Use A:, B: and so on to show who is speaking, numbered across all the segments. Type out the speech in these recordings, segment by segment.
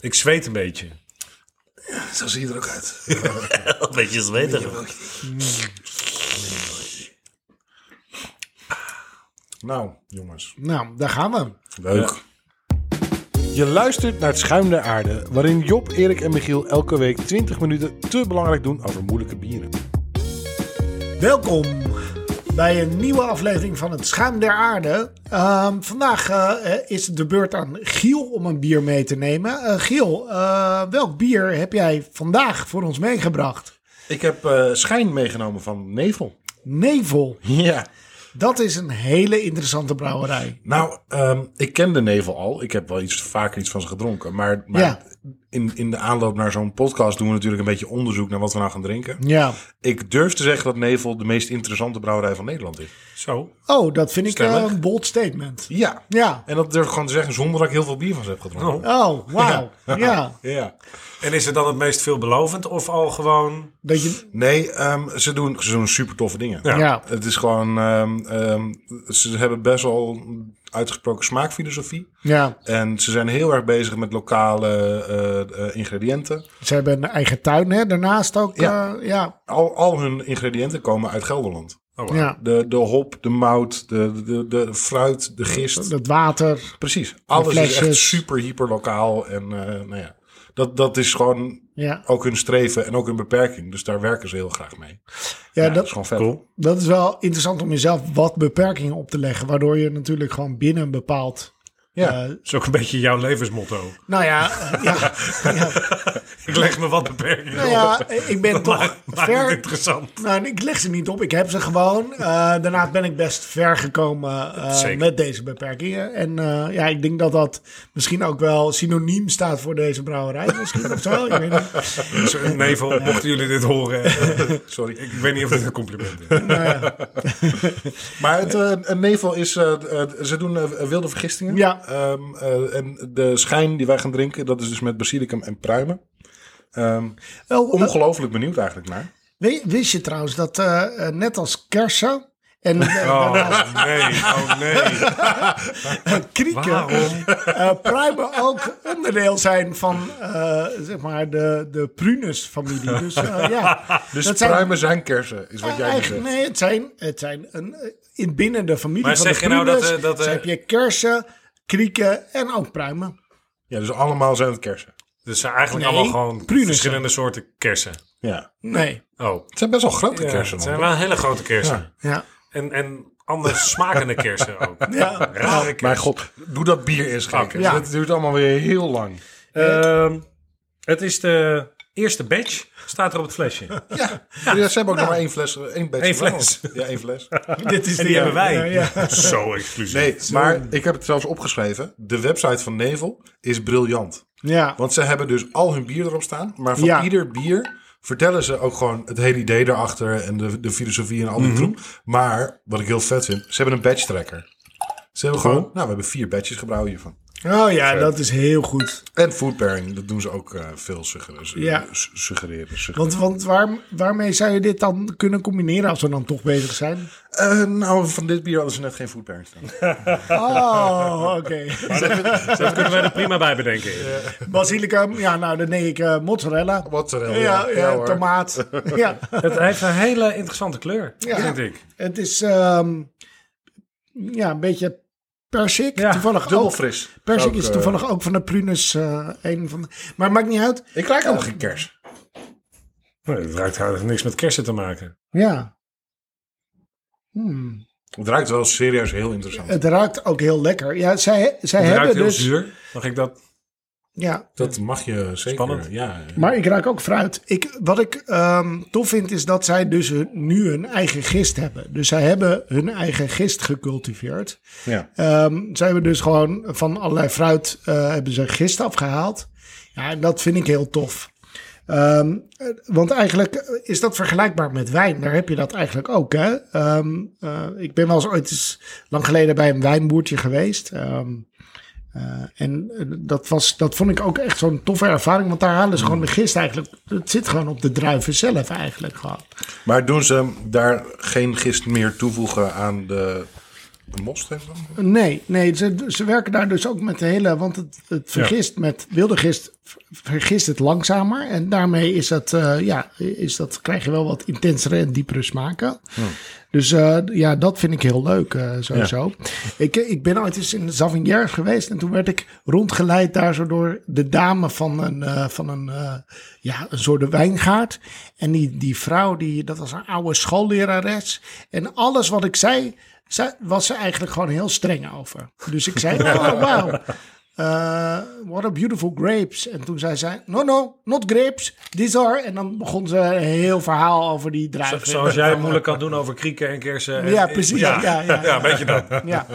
A: Ik zweet een beetje.
B: Zo zie je er ook uit.
C: Een beetje zweterig.
A: Nou, jongens.
B: Nou, daar gaan we.
A: Leuk. Je luistert naar het Schuim der Aarde, waarin Job, Erik en Michiel elke week 20 minuten te belangrijk doen over moeilijke bieren.
B: Welkom bij een nieuwe aflevering van het Schuim der Aarde. Ehm, vandaag eh, is de beurt aan Giel om een bier mee te nemen. Eh, Giel, eh, welk bier heb jij vandaag voor ons meegebracht?
A: Ik heb eh, schijn meegenomen van Nevel.
B: Nevel,
A: Ja.
B: dat is een hele interessante brouwerij.
A: Nou, ehm, ik ken de Nevel al. Ik heb wel iets, vaker iets van ze gedronken. Maar, maar
B: Ja.
A: in, in de aanloop naar zo'n podcast doen we natuurlijk een beetje onderzoek naar wat we nou gaan drinken.
B: Ja.
A: Ik durf te zeggen dat Nevel de meest interessante brouwerij van Nederland is.
D: Zo.
B: Oh, dat vind ik eh,
A: Stellig.
B: een bold statement.
A: Ja.
B: Ja.
A: En dat durf ik gewoon te zeggen zonder dat ik heel veel bier van ze heb gedronken.
B: Oh, wauw. Ja.
A: Ja.
D: En is het dan het meest veelbelovend of al gewoon...
B: Dat je,
A: Nee, ehm, ze, doen, ze doen super toffe dingen.
D: Ja.
B: ja.
A: Het is gewoon, ehm, ehm, ze hebben best wel een uitgesproken smaakfilosofie.
B: Ja.
A: En ze zijn heel erg bezig met lokale eh, eh, ingrediënten.
B: Ze hebben een eigen tuin, hè? Daarnaast ook.
A: Ja.
B: Ja. ja.
A: Al, al hun ingrediënten komen uit Gelderland.
D: Oh, wauw.
B: ja.
A: De, de hop, de mout, de, de, de fruit, de gist.
B: Het water.
A: Precies. Alles is echt
B: flesjes.
A: super, hyper lokaal. En eh, nou ja, dat, dat is gewoon
B: Ja.
A: ook hun streven en ook hun beperking. Dus daar werken ze heel graag mee.
B: Ja,
A: dat
B: dat,
A: is gewoon vet.
D: Cool.
B: Dat is wel interessant om jezelf wat beperkingen op te leggen. Waardoor je natuurlijk gewoon binnen een bepaald.
A: Ja.
B: eh,
D: Dat is ook een beetje jouw levensmotto.
B: nou ja, ja, ja,
D: Ik leg me wat beperkingen
B: nou
D: op.
B: ja, ik ben toch
D: Maakt het
B: ver.
D: interessant.
B: Nou, ik leg ze niet op, ik heb ze gewoon. Eh, daarna ben ik best ver gekomen eh,
D: Zeker.
B: met deze beperkingen. En eh, ja, ik denk dat dat misschien ook wel synoniem staat voor deze brouwerij. Misschien of zo. Ik weet niet.
D: Zo, Nevel, mochten jullie dit horen, eh,
A: Sorry.
D: ik weet niet of dit een compliment is.
A: Maar het, eh, een nevel is, eh, eh, ze doen eh, wilde vergistingen.
B: Ja.
A: Ehm, eh, en de schijn die wij gaan drinken, dat is dus met basilicum en pruimen. Ehm,
B: Oh, eh,
A: ongelooflijk benieuwd eigenlijk naar.
B: we- wist je trouwens dat eh, eh, net als kersen en eh, daarnaast
D: Oh nee, oh nee.
B: krieken.
D: Waarom?
B: eh pruimen ook onderdeel zijn van eh, zeg maar de, de prunus-familie. Dus eh, ja,
A: Dus
B: dat zijn-
A: pruimen zijn kersen, is wat jij nu
B: eigenlijk,
A: zegt.
B: nee, het zijn, het zijn een, eh, in binnen de familie
D: Maar
B: van
D: zeg
B: de
D: je nou
B: prunus.
D: dat, eh, dat,
B: dus
D: eh,
B: heb je kersen, krieken en ook pruimen.
A: Ja, dus allemaal zijn het kersen.
D: Dus zijn eigenlijk
B: Nee,
D: allemaal gewoon
B: prunussen.
D: verschillende soorten kersen.
A: Ja.
B: Nee,
D: Oh,
A: Het zijn best wel grote
D: ja,
A: kersen.
D: het zijn
A: man.
D: wel hele grote kersen.
A: Ja.
B: ja.
D: En, en anders smakende kersen ook.
B: Ja.
D: Rare kersen.
A: Mijn god, doe dat bier eens kijken.
B: Ja.
A: Dat duurt allemaal weer heel lang.
D: Ehm, het is de eerste batch, staat er op het flesje.
A: Ja, Ja, ze hebben
B: Nou.
A: ook nog maar één fles. eh, Één, batch
D: Eén
A: gedaan.
D: fles.
A: Ja, één fles.
B: Dit is
D: En die
B: de-
D: hebben wij.
B: Ja, ja.
D: Zo exclusief. Dus
A: Nee, maar ik heb het zelfs opgeschreven. De website van Nevel is briljant.
B: Ja.
A: Want ze hebben dus al hun bier erop staan. Maar van
B: Ja.
A: ieder bier vertellen ze ook gewoon het hele idee daarachter. En de, de filosofie en al die troep. Maar, wat ik heel vet vind, ze hebben een batch tracker. Ze hebben gewoon, nou, we hebben vier batches gebrouwen hiervan.
B: Oh ja, dat is heel goed.
A: En food pairing, dat doen ze ook eh, veel suggereren.
B: Ja.
A: s- suggereren, suggereren.
B: Want, want waar, waarmee zou je dit dan kunnen combineren als we dan toch bezig zijn?
A: Eh, nou, van dit bier hadden ze net geen food pairing staan.
B: Oh, oké.
D: Daar kunnen wij er prima bij bedenken.
B: Basilicum, ja, nou, dan neem ik eh, mozzarella.
A: Wat er
B: Ja, ja,
A: hoor.
B: tomaat. ja.
D: Het heeft een hele interessante kleur,
B: Ja.
D: vind ik.
B: Het is ehm, ja, een beetje persik.
D: Ja,
B: toevallig
A: Dubbel
B: ook.
A: fris.
B: Persik
A: Ook,
B: is
A: eh,
B: toevallig ook van de prunus. eh, een van de- maar maakt niet uit.
A: Ik krijg helemaal geen kers.
D: Nee, het ruikt eigenlijk niks met kersen te maken.
B: Ja. Hmm.
A: Het ruikt wel serieus heel interessant.
B: Het ruikt ook heel lekker. Ja, zij, zij
D: Het
B: hebben
D: ruikt heel
B: dus...
D: zuur. Mag ik dat?
B: Ja,
A: Dat mag je zeker.
D: Spannend.
A: Ja,
B: maar ik ruik ook fruit. Ik, wat ik ehm, tof vind is dat zij dus hun- nu hun eigen gist hebben. Dus zij hebben hun eigen gist gecultiveerd.
A: ja.
B: Ehm, ze hebben dus gewoon van allerlei fruit eh, hebben ze gist afgehaald. Ja, en dat vind ik heel tof. Ehm, eh, want eigenlijk eh, is dat vergelijkbaar met wijn. Daar heb je dat eigenlijk ook. Hè? Ehm, eh, ik ben wel eens ooit eens lang geleden bij een wijnboertje geweest. Ehm, eh, en eh, dat, was, dat vond ik ook echt zo'n toffe ervaring. Want daar halen ze gewoon de gist eigenlijk. Het zit gewoon op de druiven zelf eigenlijk gewoon.
A: Maar doen ze daar geen gist meer toevoegen aan de Een most heeft dat?
B: Nee, nee ze, ze werken daar dus ook met de hele. Want het, het vergist met wilde gist. ver- Vergist het langzamer. En daarmee is dat, eh, ja, is dat, krijg je wel wat intensere en diepere smaken. Dus eh, ja, dat vind ik heel leuk eh, sowieso. Ik, ik ben ooit eens in de Savignaire geweest. En toen werd ik rondgeleid daar zo door de dame van een, eh, van een, eh, ja, een soort wijngaard. En die, die vrouw, die, dat was een oude schoollerares. En alles wat ik zei, zij- was ze eigenlijk gewoon heel streng over. Dus ik zei, oh wow, eh, what a beautiful grapes. En toen zei zij, no no, not grapes, these are. En dan begon ze een heel verhaal over die druiven.
D: Zoals jij moeilijk kan doen over krieken en kersen. en-
B: Ja, precies. Ja, ja, ja,
D: Ja, weet je dat.
B: ja.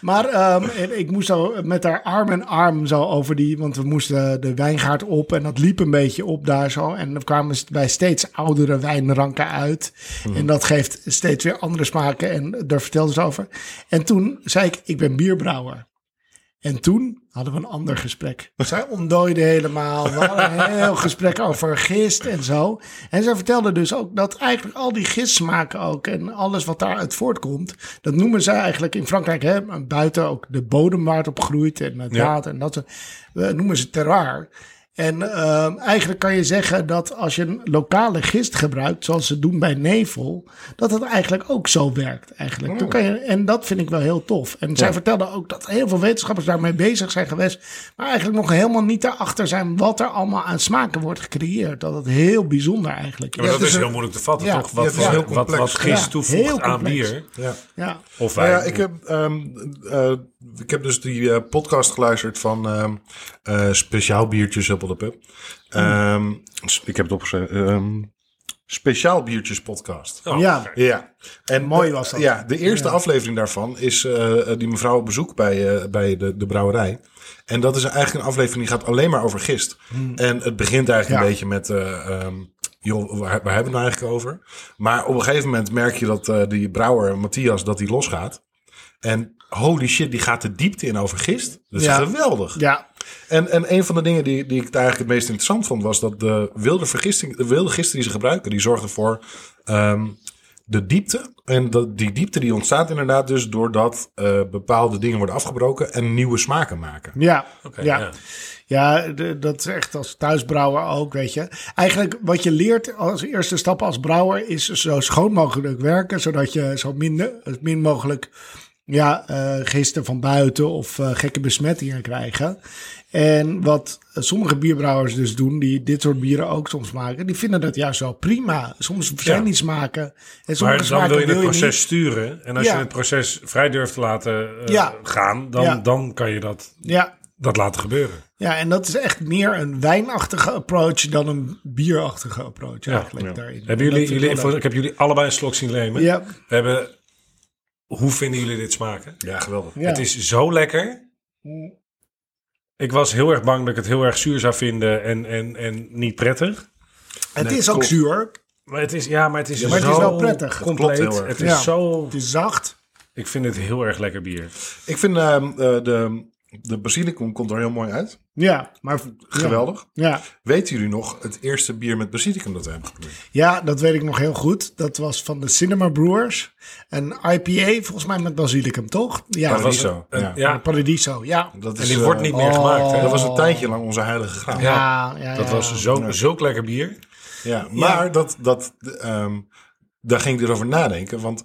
B: Maar ehm, en ik moest zo met haar arm in arm zo over die... Want we moesten de wijngaard op en dat liep een beetje op daar zo. En dan kwamen ze bij steeds oudere wijnranken uit.
D: Mhm.
B: En dat geeft steeds weer andere smaken. En daar vertelde ze over. En toen zei ik, ik ben bierbrouwer. En toen hadden we een ander gesprek. Zij ontdooide helemaal. We hadden een heel gesprek over gist en zo. En zij vertelde dus ook dat eigenlijk al die gistsmaken ook... en alles wat daaruit voortkomt... dat noemen zij eigenlijk in Frankrijk... Hè, buiten ook de bodem waar het op groeit... en het water en dat soort- eh, noemen ze terroir. En ehm, eigenlijk kan je zeggen dat als je een lokale gist gebruikt... zoals ze doen bij nevel... dat het eigenlijk ook zo werkt eigenlijk. Toen kan je, en dat vind ik wel heel tof. En zij vertelde ook dat heel veel wetenschappers daarmee bezig zijn geweest... maar eigenlijk nog helemaal niet erachter zijn... wat er allemaal aan smaken wordt gecreëerd. Dat het heel bijzonder eigenlijk
D: Ja, maar
B: is.
A: Ja,
D: dat
A: dus
D: is
A: een-
D: heel moeilijk te vatten,
B: Ja, dus
D: toch? Wat,
A: ja, het is
D: wat-
A: heel
D: wat,
A: complex.
D: wat gist
B: Ja, heel
D: toevoegt aan
B: complex.
D: bier.
A: Ja.
B: Ja.
D: Of
A: Nou
D: wijn.
A: ja, ik heb, ehm, eh, ik heb dus die eh, podcast geluisterd van ehm, eh, Speciaal Biertjes Huppel de Pub. Ehm, s- Ik heb het opgeschreven. ehm, speciaal Biertjes podcast.
D: Oh,
B: Ja.
D: oké.
A: Ja. En
B: Mooi
A: de-
B: was dat.
A: Ja, de eerste aflevering daarvan is eh, eh, die mevrouw op bezoek bij, eh, bij de, de brouwerij. En dat is eigenlijk een aflevering die gaat alleen maar over gist. En het begint eigenlijk
B: Hmm. Ja.
A: een beetje met... eh, ehm, joh, waar, waar hebben we het nou eigenlijk over? Maar op een gegeven moment merk je dat eh, die brouwer, Matthias, dat die losgaat. En holy shit, die gaat de diepte in over gist. Dat is
B: Ja.
A: geweldig.
B: Ja,
A: En, en een van de dingen die, die ik daar eigenlijk het meest interessant vond, was dat de wilde, vergisting, de wilde gisten die ze gebruiken, die zorgen voor ehm, de diepte. En dat, die diepte die ontstaat inderdaad dus doordat eh, bepaalde dingen worden afgebroken en nieuwe smaken maken.
B: ja, ja.
D: ja.
B: ja. de- dat is echt als thuisbrouwer ook, weet je. Eigenlijk wat je leert als eerste stap als brouwer is zo schoon mogelijk werken, zodat je zo minder, min mogelijk ja, eh, gisten van buiten of eh, gekke besmettingen krijgen. En wat eh, sommige bierbrouwers dus doen, die dit soort bieren ook soms maken, die vinden dat juist wel prima. Soms zijn
D: Ja.
B: die smaken. En sommige
D: Maar dan
B: smaken
D: wil je het
B: niet.
D: proces sturen. En als
B: Ja.
D: je het proces vrij durft te laten eh,
B: Ja.
D: gaan, dan,
B: Ja.
D: dan kan je dat,
B: Ja,
D: dat laten gebeuren.
B: Ja, en dat is echt meer een wijnachtige approach dan een bierachtige approach eigenlijk daarin.
D: Hebben
B: En dat
D: jullie,
B: vind ik
D: jullie,
B: wel
D: ik heb jullie allebei een slok zien nemen.
B: leuk. Ja,
D: We hebben, hoe vinden jullie dit smaken?
A: Ja, geweldig.
B: ja.
D: Het is zo lekker. Ik was heel erg bang dat ik het heel erg zuur zou vinden en, en, en niet prettig.
B: het
A: nee,
B: is ook
A: klopt.
B: zuur.
D: Maar het is, ja, maar het is,
B: maar het
D: zo
B: is wel prettig.
D: compleet.
A: Dat klopt heel erg.
D: Het is
B: Ja.
D: zo,
B: Het is zacht.
D: ik vind het heel erg lekker bier.
A: Ik vind ehm, eh, de, de basilicum komt er heel mooi uit.
B: Ja, maar
A: Geweldig.
B: Ja, ja.
A: Weten jullie nog het eerste bier met basilicum dat we hebben geprobeerd?
B: Ja, dat weet ik nog heel goed. Dat was van de Cinema Brewers. Een IPA, volgens mij met basilicum, toch? Ja,
A: Dat was
B: een
A: zo.
D: En-
A: Ja.
D: ja.
B: Paradiso, ja.
A: Dat
D: En die
A: eh, Oh.
D: wordt niet meer gemaakt. Hè?
A: Dat was een tijdje lang onze heilige graal.
B: Ja, ja,
D: Dat
B: ja.
D: was
A: dus
D: zo, zulk lekker bier.
A: Ja, maar Dat, dat, ehm, daar ging ik erover nadenken. Want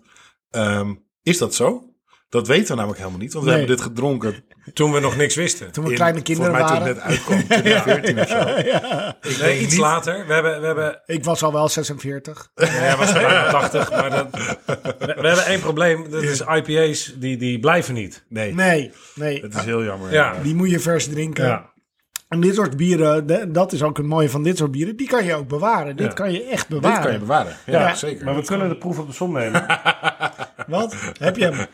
A: ehm, is dat zo? Dat weten we namelijk helemaal niet. Want we
B: Nee.
A: hebben dit gedronken
D: Toen we nog niks wisten.
B: Toen we
A: in-
B: kleine kinderen
A: volgens mij
B: waren.
A: toen het net uitkwam, 2014 of zo.
D: Ik nee, iets later. We hebben, we hebben,
B: Ik was al wel 46.
D: nee, hij was bijna 80, maar dat, we, we hebben één probleem. Dat is IPA's, die, die blijven niet.
A: Nee,
B: Nee, nee.
A: het is heel jammer.
D: Ja.
B: Die moet je vers drinken.
D: Ja.
B: En dit soort bieren, de- dat is ook het mooie van dit soort bieren, die kan je ook bewaren. Dit
D: Ja.
B: kan je echt bewaren.
A: Dit kan je bewaren. Ja,
B: Ja.
A: zeker.
D: we kunnen de proef op de som nemen.
B: Wat? Heb je hem?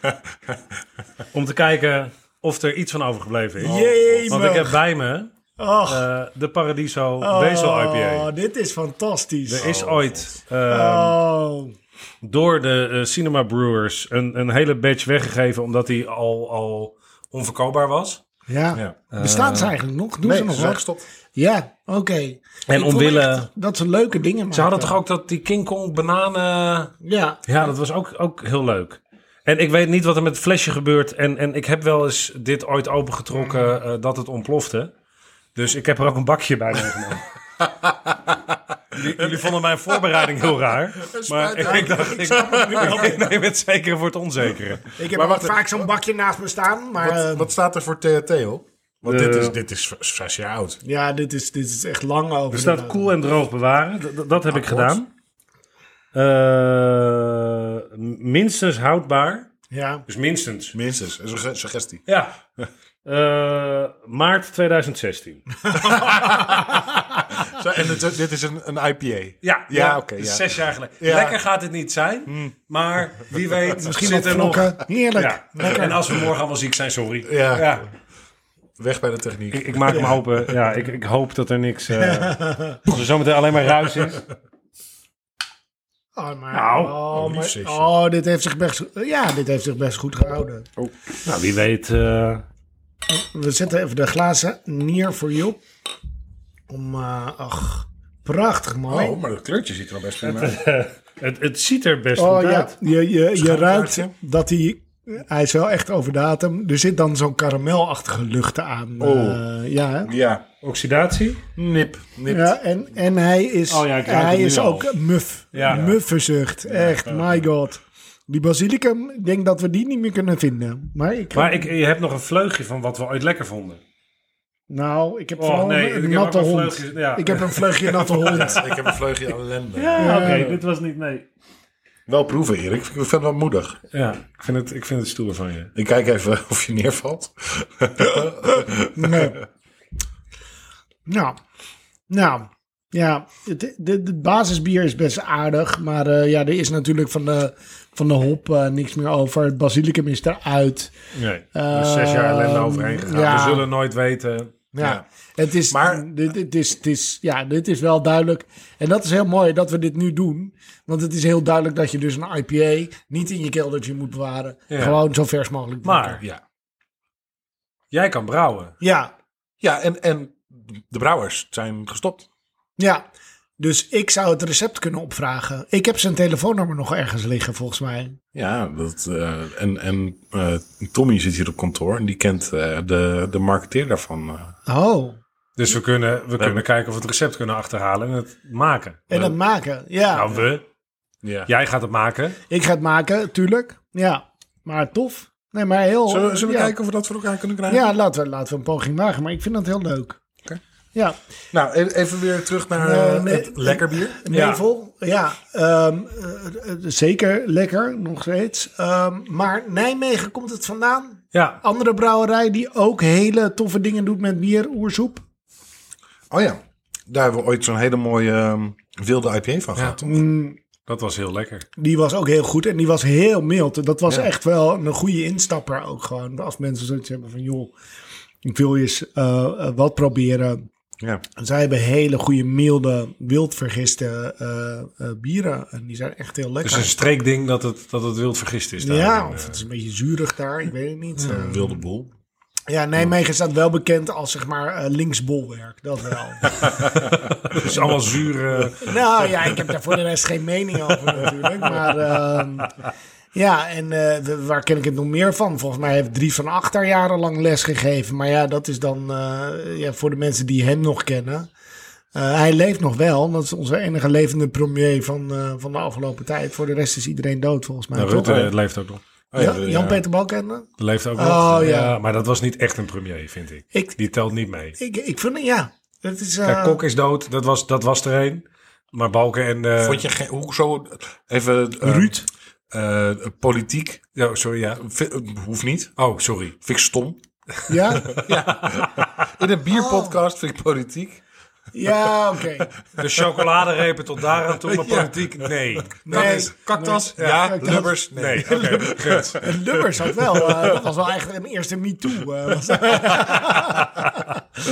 D: Om te kijken of er iets van overgebleven is.
B: Jemig.
D: Oh, Want ik heb bij me
B: Och,
D: eh, de Paradiso Basil IPA.
B: Oh, dit is fantastisch.
D: Er is ooit eh,
B: Oh,
D: door de eh, Cinema Brewers een, een hele batch weggegeven... omdat die al, al onverkoopbaar was.
B: ja.
A: Ja.
B: Bestaan
D: Eh,
B: ze eigenlijk nog? Doen
A: nee,
B: ze nog
A: ze zijn
B: wat?
A: gestopt.
B: Ja, oké. Ik vond
D: omwille-
B: echt Dat ze leuke dingen maken.
D: Ze hadden toch ook dat die King Kong bananen...
B: Ja,
D: Ja, dat was ook, ook heel leuk. En ik weet niet wat er met het flesje gebeurt. En, en ik heb wel eens dit ooit opengetrokken eh, dat het ontplofte. Dus ik heb er ook een bakje bij meegenomen. Jullie- Jullie vonden mijn voorbereiding heel raar. Maar ik, ik dacht, ik, ik neem het zekere voor het onzekere.
B: Ik heb
A: Maar
B: ook
A: wacht
B: vaak zo'n bakje naast me staan. Maar
A: Wat,
B: eh,
A: wat staat er voor Theo? Want
D: Eh,
A: dit, is, dit is v- zes jaar oud.
B: eh, ja, dit is, dit is echt lang over.
D: Er staat
B: de-
D: koel en droog bewaren. D- d- dat heb ik gedaan. Eh, minstens houdbaar.
B: Ja,
D: Dus minstens.
A: Minstens. Een sugge- suggestie.
D: Ja. Eh, maart 2016.
A: Zo, en dit, dit is een, een IPA.
D: Ja, Hmm.
A: Ja, oké,
D: dus
A: ja.
D: Zes jaar geleden.
A: Ja.
D: Lekker gaat het niet zijn, maar wie weet
B: misschien
D: zit
B: wat
D: er nog...
B: vlokken. Heerlijk.
D: Ja. En als we morgen allemaal ziek zijn, sorry.
A: Ja. Weg bij de techniek.
D: Ik, ik maak me hopen, ja, ik, ik hoop dat er niks... eh als er zometeen alleen maar ruis is.
B: Oh, maar,
D: Nou,
B: oh, maar-
A: liefst is je.
B: oh, dit heeft zich best, ja, dit heeft zich best goed gehouden.
D: Nou, wie weet... eh,
B: We zetten even de glazen neer voor Job. Om, eh, ach, prachtig mooi.
A: Oh, maar dat kleurtje ziet er al best prima uit.
D: het, het ziet er best
B: Oh,
D: goed
B: ja,
D: uit.
B: je, je, je ruikt
A: Schuimkaartje.
B: dat hij, hij is wel echt over datum. Er zit dan zo'n karamelachtige lucht aan.
D: Oh.
B: eh, ja, hè?
A: Ja.
D: Oxidatie?
A: Nip. Nip.
B: Ja, en, en hij is,
D: Oh ja, ik ruik
B: hij
D: het nu
B: is
D: al.
B: ook muf.
D: Ja.
B: Muffenzucht. Echt, my god. Die basilicum, ik denk dat we die niet meer kunnen vinden. Maar ik,
D: Maar ik, je hebt nog een vleugje van wat we ooit lekker vonden.
B: nou, ik heb
D: Och,
B: vooral
D: Oh, nee,
B: een,
D: ik heb
B: natte
D: ook een
B: hond.
D: vleugje, ja.
B: Ik heb een vleugje natte hond.
A: Ik heb een vleugje aan ellende.
D: Ja, oké, dit was niet... Nee.
A: Wel proeven, Erik. Ik vind het wel moedig.
D: Ja, ik vind, het, ik vind het stoer van je.
A: Ik kijk even of je neervalt.
B: Nee. Nou, nou, ja, het, de, de basisbier is best aardig. Maar eh, ja, er is natuurlijk van de, van de hop eh, niks meer over. Het basilicum is eruit.
D: Nee, Eh, er is Dus zes jaar ellende overheen gegaan.
B: ja.
D: We zullen nooit weten...
B: Ja.
A: Ja.
B: Het is,
A: Maar-
B: dit, dit is, het is, ja, dit is wel duidelijk. En dat is heel mooi dat we dit nu doen. Want het is heel duidelijk dat je dus een IPA niet in je keldertje moet bewaren.
D: Ja.
B: Gewoon zo vers mogelijk. drinken.
D: Maar
A: Ja.
D: jij kan brouwen.
B: Ja,
A: Ja, en, en de brouwers zijn gestopt.
B: ja. Dus ik zou het recept kunnen opvragen. Ik heb zijn telefoonnummer nog ergens liggen, volgens mij.
A: Ja, dat, eh, en, en eh, Tommy zit hier op kantoor en die kent eh, de, de marketeer daarvan. eh.
B: Oh,
D: Dus we kunnen, we kunnen kijken of we het recept kunnen achterhalen en het maken.
B: en
A: Oh.
B: dat maken. Ja,
D: Nou, we.
A: Ja.
D: Jij gaat het maken.
B: ik ga het maken, tuurlijk. Ja, maar tof. Nee, maar heel...
A: Zullen, we- zullen we
B: ja.
A: kijken of we dat voor elkaar kunnen krijgen?
B: Ja, laten we, laten we een poging wagen. Maar ik vind dat heel leuk.
A: Oké.
B: Ja,
A: Nou, e- even weer terug naar eh,
B: Eh, nee,
A: het lekker bier.
D: Ja.
B: Nevel, ja. ehm, eh, eh, zeker lekker, nog steeds. Ehm, maar Nijmegen komt het vandaan.
D: Ja.
B: Andere brouwerij die ook hele toffe dingen doet met bier, oersoep.
A: Oh ja, daar hebben we ooit zo'n hele mooie ehm, wilde IPA van gehad. toch?
B: Mm,
D: Dat was heel lekker.
B: die was ook heel goed en die was heel mild. Dat was
A: Ja.
B: echt wel een goede instapper ook gewoon. Als mensen zoiets hebben van, joh, ik wil eens eh, eh, wat proberen.
A: Ja.
B: Zij hebben hele goede, milde, wild vergiste eh, eh, bieren. En die zijn echt heel
D: Dus
B: lekker.
D: een streekding dat het, dat het wild vergist is. daar.
B: ja,
D: En,
B: of het
D: eh,
B: is een beetje zuurig daar, ik weet het niet. Eh,
A: Een wilde boel.
B: Ja, Nijmegen staat wel bekend als zeg maar eh, linksbolwerk, dat wel.
D: Het is allemaal eh, zure...
B: nou ja, ik heb daar voor de rest geen mening over natuurlijk, maar ehm, ja, en eh, de- waar ken ik het nog meer van? Volgens mij heeft Drie van Achter jarenlang les gegeven, maar ja, dat is dan eh, ja, voor de mensen die hem nog kennen. Eh, hij leeft nog wel, dat is onze enige levende premier van, eh, van de afgelopen tijd. Voor de rest is iedereen dood volgens mij.
D: Nou,
B: toch?
D: Rutte eh, leeft ook nog.
A: Oh ja,
B: Ja,
A: ja.
B: Jan-Peter Balkenende?
D: Leeft ook
B: Oh,
D: nog.
B: ja.
D: Maar dat was niet echt een premier, vind ik.
B: Ik,
D: Die telt niet mee.
B: ik, ik vind het, ja. Het is, eh,
D: Kijk, Kok is dood. Dat was, dat was er een. Maar Balken en... eh,
A: Vond je geen, hoezo, even... eh,
D: Ruud.
A: eh, politiek,
D: Ja, sorry, ja.
A: Vind- eh, hoeft niet.
D: Oh, sorry.
A: Vind ik stom.
B: ja?
A: In een bierpodcast vind ik politiek.
B: Ja, oké.
D: De chocoladerepen tot daar aan toe, maar politiek, nee.
B: Nee,
A: Kaktas?
B: nee.
A: Ja.
B: Kaktus.
A: Lubbers? Nee.
D: Nee, oké. goed.
B: En Lubbers had wel. eh, dat was wel eigenlijk een eerste MeToo. eh, was dat.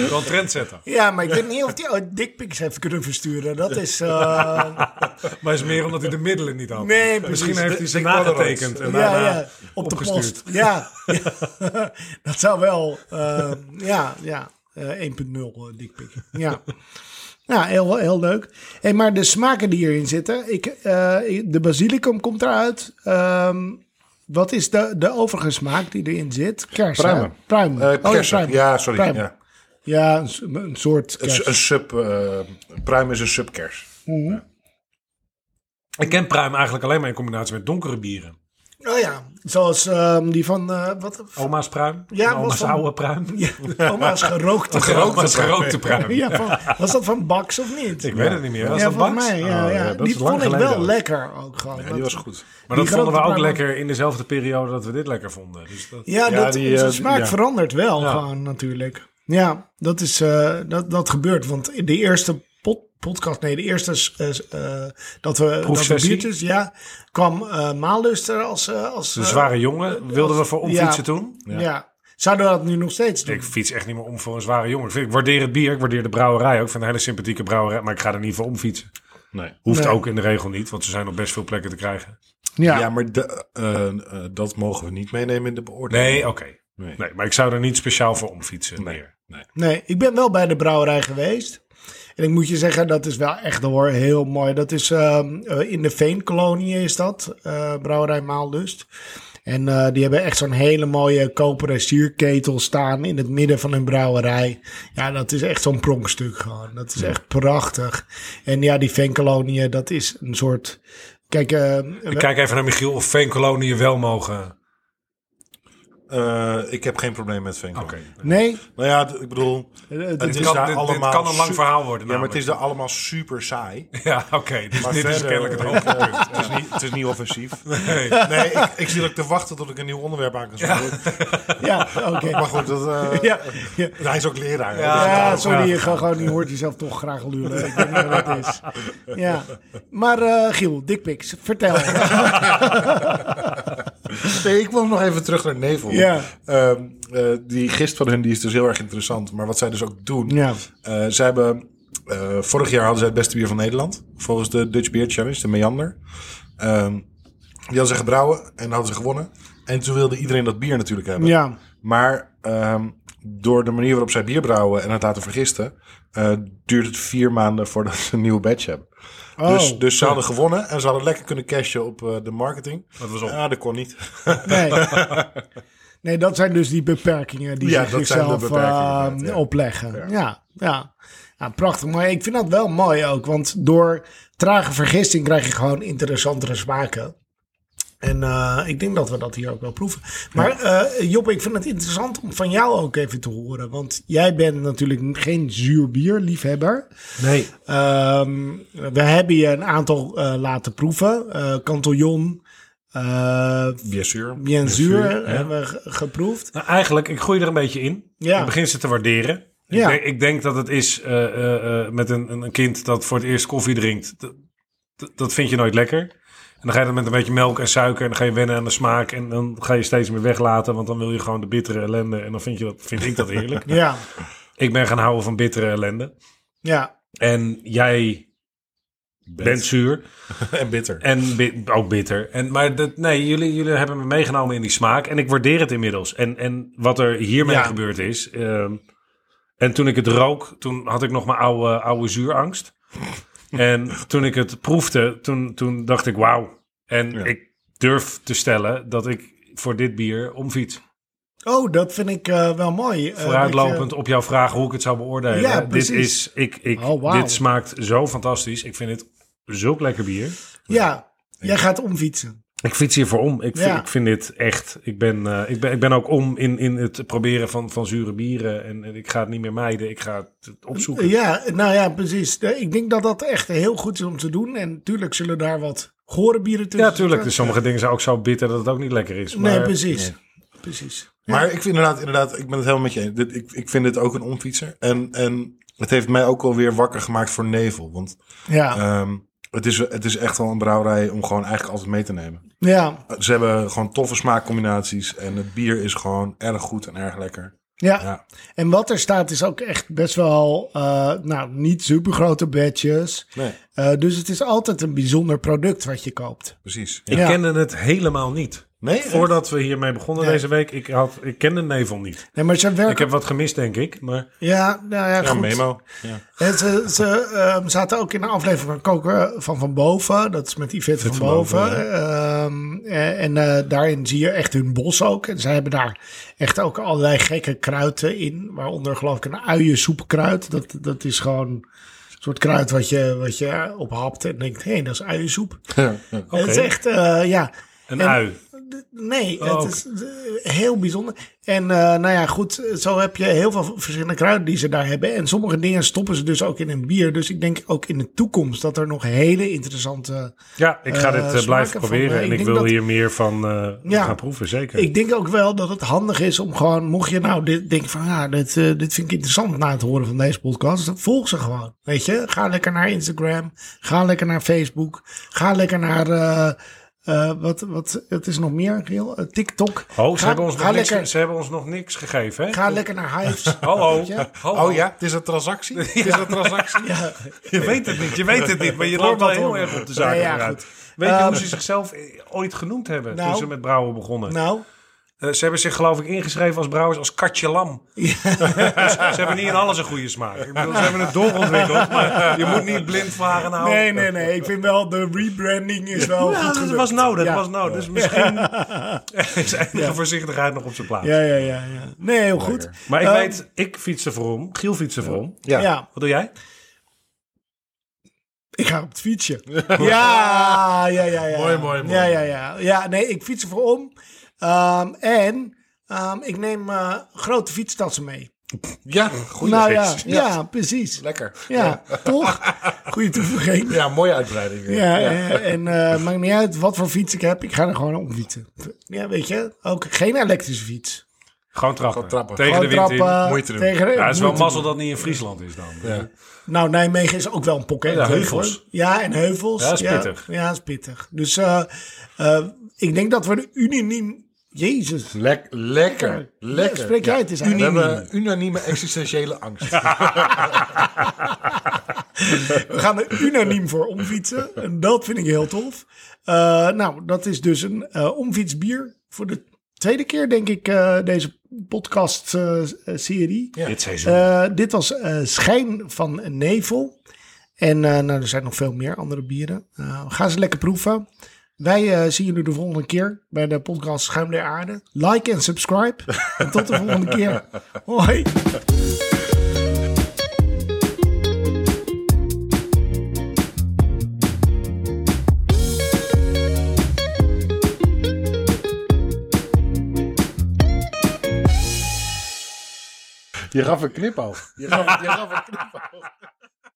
D: Wel trendsetter.
B: ja, maar ik weet niet of die oh, ooit dickpics heeft kunnen versturen. Dat is... eh,
D: Maar is meer omdat hij de middelen niet had.
B: Nee, precies.
D: Misschien heeft hij ze
A: Dick Polaroids.
D: nagetekend en
B: ja,
D: daarna
B: ja, op de
D: opgestuurd.
B: post. Ja, ja. dat zou wel... eh, ja, ja. eh, 1.0 eh, dickpic. Ja. Ja, heel, heel leuk. Hey, maar de smaken die hierin zitten. Ik, eh, de basilicum komt eruit. Ehm, Wat is de, de overige smaak die erin zit? Kers. hè?
A: Pruimen.
B: Pruimen.
A: Eh,
B: Oh, ja,
A: kersen.
B: pruimen.
A: ja, sorry.
B: Pruimen.
A: Ja.
B: Ja, een, s- een soort
A: Een,
B: kers.
A: s- een sub, eh, pruim is een subkers.
D: Ik ken pruim eigenlijk alleen maar in combinatie met donkere bieren.
B: Oh ja, zoals ehm, die van... eh, wat,
A: Oh.
D: Oma's pruim.
B: Ja,
D: en oma's
B: was van-
D: oude pruim.
B: ja, oma's gerookte pruim.
D: Oma's gerookte pruim.
B: Ja, van, was dat van Baks of niet?
D: Ik weet het niet meer. Was
B: ja,
D: dat
B: van
D: Baks?
B: mij. Ja,
D: Oh,
B: ja.
D: dat
B: die
D: is lang
B: vond ik
D: geleden
B: wel
D: ook.
B: lekker ook gewoon.
A: Ja, die was goed.
D: Maar dat vonden
B: Die
D: we
B: grote
D: ook
B: pruim.
D: lekker in dezelfde periode dat we dit lekker vonden. Dus dat...
B: Ja,
A: Ja,
B: dat,
A: die,
B: onze
A: eh,
B: smaak
A: ja.
B: verandert wel
D: Ja.
B: gewoon natuurlijk. Ja, dat, is, eh, dat, dat gebeurt. Want in de eerste pod- podcast, nee, de eerste eh, eh, dat we, dat we
D: Proefsessie.
B: biertjes, ja, kwam eh Maalust er als... eh, als
D: De
B: eh,
D: zware jongen wilden we voor omfietsen
B: ja.
D: toen.
B: ja. zouden we dat nu nog steeds doen?
D: Ik fiets echt niet meer om voor een zware jongen. Ik, vind- ik waardeer het bier, ik waardeer de brouwerij ook. Ik vind het een hele sympathieke brouwerij, maar ik ga er niet voor omfietsen.
A: Nee.
D: Hoeft
B: Nee.
D: ook in de regel niet, want er zijn nog best veel plekken te krijgen.
A: Ja,
B: ja.
A: maar de- eh, eh, dat mogen we niet meenemen in de beoordeling.
D: Nee, oké.
A: Nee.
D: Nee, maar ik zou er niet speciaal voor omfietsen.
A: Nee.
D: meer.
A: Nee.
B: Nee, ik ben wel bij de brouwerij geweest. En ik moet je zeggen, dat is wel echt hoor, heel mooi. Dat is ehm, eh, in de Veenkolonie is dat, eh, brouwerij Maallust. En eh, die hebben echt zo'n hele mooie koperen sierketel staan in het midden van hun brouwerij. Ja, dat is echt zo'n pronkstuk gewoon. Dat is echt prachtig. En ja, die Veenkolonie, eh, dat is een soort... Kijk, eh,
D: Ik kijk even naar Michiel of veenkoloniën wel mogen.
A: Eh, ik heb geen probleem met Venko.
B: nee,
A: Nou ja, d- ik bedoel,
B: het
A: het
D: Dit,
A: Eh, is
D: kan,
A: daar
D: dit- dit
A: allemaal
D: kan een lang
A: su-
D: verhaal worden.
A: Ja, maar het is
D: namelijk.
A: daar allemaal super saai.
D: Ja, oké. dus
A: Maar
D: dit is
A: verder,
D: kennelijk het
A: eh,
D: hoogtepunt.
A: het, is niet, het is niet offensief.
D: Nee.
A: Nee, ik, ik zit ook te wachten tot ik een nieuw onderwerp aan kan zoeken.
B: ja, oké.
A: Maar goed, dat, eh,
B: Ja, ja.
A: hij is ook leraar. hè,
D: Ja.
A: dus-
B: Ja,
D: nou,
B: sorry,
D: ja.
B: je, gaat gewoon, je hoort jezelf toch graag lullen. Ik weet niet wat het is. Ja. Maar eh Giel, dikpiks, vertel.
A: Nee, ik wil nog even terug naar Nevel.
B: Ja.
A: Ehm, eh, die gist van hun die is dus heel erg interessant. Maar wat zij dus ook doen.
B: Ja.
A: eh, zij hebben, eh, vorig jaar hadden zij het beste bier van Nederland. Volgens de Dutch Beer Challenge, de Meander. Ehm, die hadden ze gebrouwen en hadden ze gewonnen. En toen wilde iedereen dat bier natuurlijk hebben.
B: ja.
A: Maar ehm, door de manier waarop zij bier brouwen en het laten vergisten, eh, duurt het vier maanden voordat ze een nieuwe badge hebben.
B: Oh.
A: dus, dus ze hadden gewonnen en ze hadden lekker kunnen cashen op eh, de marketing.
D: Dat was op.
A: Ja, dat kon niet.
B: Nee. Nee, dat zijn dus die beperkingen die
A: Ja, dat
B: ze
A: zijn de
B: zichzelf
A: beperkingen,
B: eh,
A: inderdaad, ja.
B: opleggen. Ja. Ja. Ja, prachtig. Maar ik vind dat wel mooi ook. Want door trage vergisting krijg je gewoon interessantere smaken. En eh, ik denk dat we dat hier ook wel proeven. Maar eh Job, ik vind het interessant om van jou ook even te horen. Want jij bent natuurlijk geen zuur bierliefhebber.
D: Nee.
B: Ehm, we hebben je een aantal eh, laten proeven. Eh Cantillon, eh,
A: Yes, sure.
B: Bien zuur
D: zuur,
B: hebben we ge- geproefd.
D: Nou, eigenlijk, ik groei er een beetje in.
B: Ja.
D: Ik begin ze te waarderen.
B: Ja.
D: Ik, denk, ik denk dat het is eh, eh, eh, met een, een een kind dat voor het eerst koffie drinkt. Dat, dat- dat vind je nooit lekker. En dan ga je dat met een beetje melk en suiker en dan ga je wennen aan de smaak. En dan ga je steeds meer weglaten, want dan wil je gewoon de bittere ellende. En dan vind, je dat, vind ik dat heerlijk.
B: Ja,
D: ik ben gaan houden van bittere ellende.
B: ja,
D: En jij bent zuur.
A: en bitter.
D: En bi- ook bitter. En, maar dat, nee, jullie, jullie hebben me meegenomen in die smaak. En ik waardeer het inmiddels. En, en wat er hiermee
B: Ja.
D: gebeurd is. ehm, en toen ik het rook, toen had ik nog mijn oude, oude zuurangst. en toen ik het proefde, toen, toen dacht ik wauw. En
A: Ja.
D: ik durf te stellen dat ik voor dit bier omfiets.
B: Oh, dat vind ik eh, wel mooi. Eh,
D: Vooruitlopend
B: dat
D: op jouw vraag hoe ik het zou beoordelen.
B: Ja,
D: dit,
B: precies.
D: is, ik, ik,
B: Oh, wauw.
D: dit smaakt zo fantastisch. Ik vind het zulk lekker bier.
B: je- ja, jij gaat omfietsen.
D: Ik fiets hiervoor om. Ik vind,
B: Ja.
D: ik vind dit echt. Ik ben, eh, ik ben, ik ben ook om in, in het proberen van, van zure bieren. En, en ik ga het niet meer mijden. Ik ga het opzoeken.
B: Ja, nou ja, precies. Eh, Ik denk dat dat echt heel goed is om te doen. En natuurlijk zullen daar wat gore bieren tussen
D: Ja, tuurlijk.
B: zitten.
D: Dus sommige dingen zijn ook zo bitter dat het ook niet lekker is. Maar
B: nee, precies. Precies.
A: Maar ik vind inderdaad, inderdaad, ik ben het helemaal met je eens. Dit, ik, ik vind dit ook een omfietser. En, en het heeft mij ook alweer wakker gemaakt voor Nevel. Want
B: Ja,
A: ehm, het, is, het is echt wel een brouwerij om gewoon eigenlijk altijd mee te nemen.
B: ja,
A: Ze hebben gewoon toffe smaakcombinaties. En het bier is gewoon erg goed en erg lekker.
B: ja,
A: Ja.
B: En wat er staat is ook echt best wel, eh, nou, niet super grote badges.
A: Nee,
B: Eh, dus het is altijd een bijzonder product wat je koopt.
A: precies.
D: Ik
B: Ja.
D: kende het helemaal niet.
A: Nee?
D: Voordat we hiermee begonnen
B: Nee.
D: deze week, ik, had, ik kende Nevel niet.
B: Nee, maar ze
D: Ik
B: werken...
D: heb wat gemist, denk ik. Maar
B: Ja, nou ja,
A: Ja,
B: goed.
A: memo. Ja.
B: En Eh, ze ze ehm, zaten ook in een aflevering van Koken eh, van Van Boven. Dat is met Yvette van,
D: van
B: Boven.
D: Boven,
B: Ehm, eh, en eh, daarin zie je echt hun bos ook. En zij hebben daar echt ook allerlei gekke kruiden in. Waaronder geloof ik een uiensoepkruid. Dat, dat is gewoon een soort kruid wat je, wat je ophapt en denkt... hé, hey, dat is uiensoep.
A: Ja, Oh, ja.
B: Het is echt, eh, ja...
D: een
B: En-
D: ui.
B: Nee,
D: Oh,
B: het is eh, heel bijzonder. En eh, nou ja, goed, zo heb je heel veel verschillende kruiden die ze daar hebben. En sommige dingen stoppen ze dus ook in een bier. Dus ik denk ook in de toekomst dat er nog hele interessante...
D: Ja, ik ga dit
B: Eh,
D: eh,
B: smaken
D: blijven
B: van,
D: proberen.
B: eh, ik
D: en ik
B: denk
D: wil
B: dat-
D: hier meer van eh,
B: Ja.
D: gaan proeven, zeker.
B: Ik denk ook wel dat het handig is om gewoon... Mocht je nou dit, denken van, ja, dit, eh, dit vind ik interessant na het horen van deze podcast. Dan volg ze gewoon, weet je. Ga lekker naar Instagram. Ga lekker naar Facebook. Ga lekker naar... eh, eh, wat, wat, het is nog meer, Giel? Eh, TikTok.
D: Oh, ze
B: Ga-
D: hebben, ons
B: ga
D: nog niks,
B: lekker-
D: ze hebben ons nog niks gegeven, hè?
B: Ga lekker naar Hives.
D: Hallo.
B: Weet je?
D: Hallo.
A: Oh ja, het is een transactie. Het is een transactie.
D: Je weet het niet, je weet het niet, maar je
B: Klopt
D: loopt wel
B: dat
D: heel
B: wel.
D: erg op de zaken
B: Nee, ja,
D: vooruit.
B: goed.
D: Weet je
B: Ehm,
D: hoe ze zichzelf eh, ooit genoemd hebben
B: Nou.
D: toen ze met brouwen begonnen?
B: Nou,
D: Eh, ze hebben zich geloof ik ingeschreven als brouwers als katje lam. Dus ze hebben niet in alles een goede smaak. Ik bedoel, ze hebben het doorontwikkeld, maar je moet niet blind varen houden.
B: Nee, nee, nee. Ik vind wel de rebranding is wel
D: Ja,
B: goed
D: dat
B: gelukt.
D: was nodig, dat
B: Ja.
D: was nodig. Dus misschien is enige voorzichtigheid nog op zijn plaats.
B: Ja, ja, ja, ja. Nee, heel goed.
D: Maar ik
B: Ehm,
D: weet, ik fiets er voor om. Giel fietst er voor om.
A: Ja.
B: Ja.
D: Wat doe jij?
B: ik ga op het fietsje. ja, ja, ja, ja.
A: Mooi, mooi, mooi.
B: Ja, ja, ja. Ja, nee, ik fiets er voor om. Ehm, en ehm, ik neem eh, grote fietstassen mee.
A: Ja, goeie
B: nou ja,
A: gids.
B: ja, precies.
A: Lekker.
B: Ja, toch? Goeie toevoeging.
A: Ja, mooie uitbreiding.
B: Ja, eh, en eh maakt niet uit wat voor fiets ik heb. Ik ga er gewoon om fietsen. Ja, weet je? Ook geen elektrische fiets.
D: Gewoon trappen.
A: Gewoon trappen.
D: Tegen
B: Gewoon
D: de wind in.
B: trappen.
A: Moeite doen.
B: tegen de-
D: Ja, het is wel
B: moeite
D: mazzel dat het niet in Friesland is dan.
B: Nou, Nijmegen is ook wel een pocket.
D: Ja,
B: hoor.
D: heuvels.
B: Ja, en heuvels.
D: Ja, dat is pittig.
B: Ja, dat is pittig. Dus eh, eh, ik denk dat we de unaniem... Jezus.
A: Lek- lekker. Lekker.
B: Ja, spreek jij het eens uit.
A: We hebben unanieme existentiële angst.
B: We gaan er unaniem voor omfietsen. En dat vind ik heel tof. Eh, nou, dat is dus een eh omfietsbier. Voor de tweede keer, denk ik, eh, deze eh, podcast-serie.
A: Ja.
D: Dit seizoen.
B: Eh, dit was eh, Schijn van Nevel. En eh, nou, er zijn nog veel meer andere bieren. Eh ga ze lekker proeven. Wij eh, zien jullie de volgende keer bij de podcast Schuim der Aarde. Like en subscribe. en tot de volgende keer. Hoi.
A: Je gaf een knip af. Je gaf, je gaf een knip af.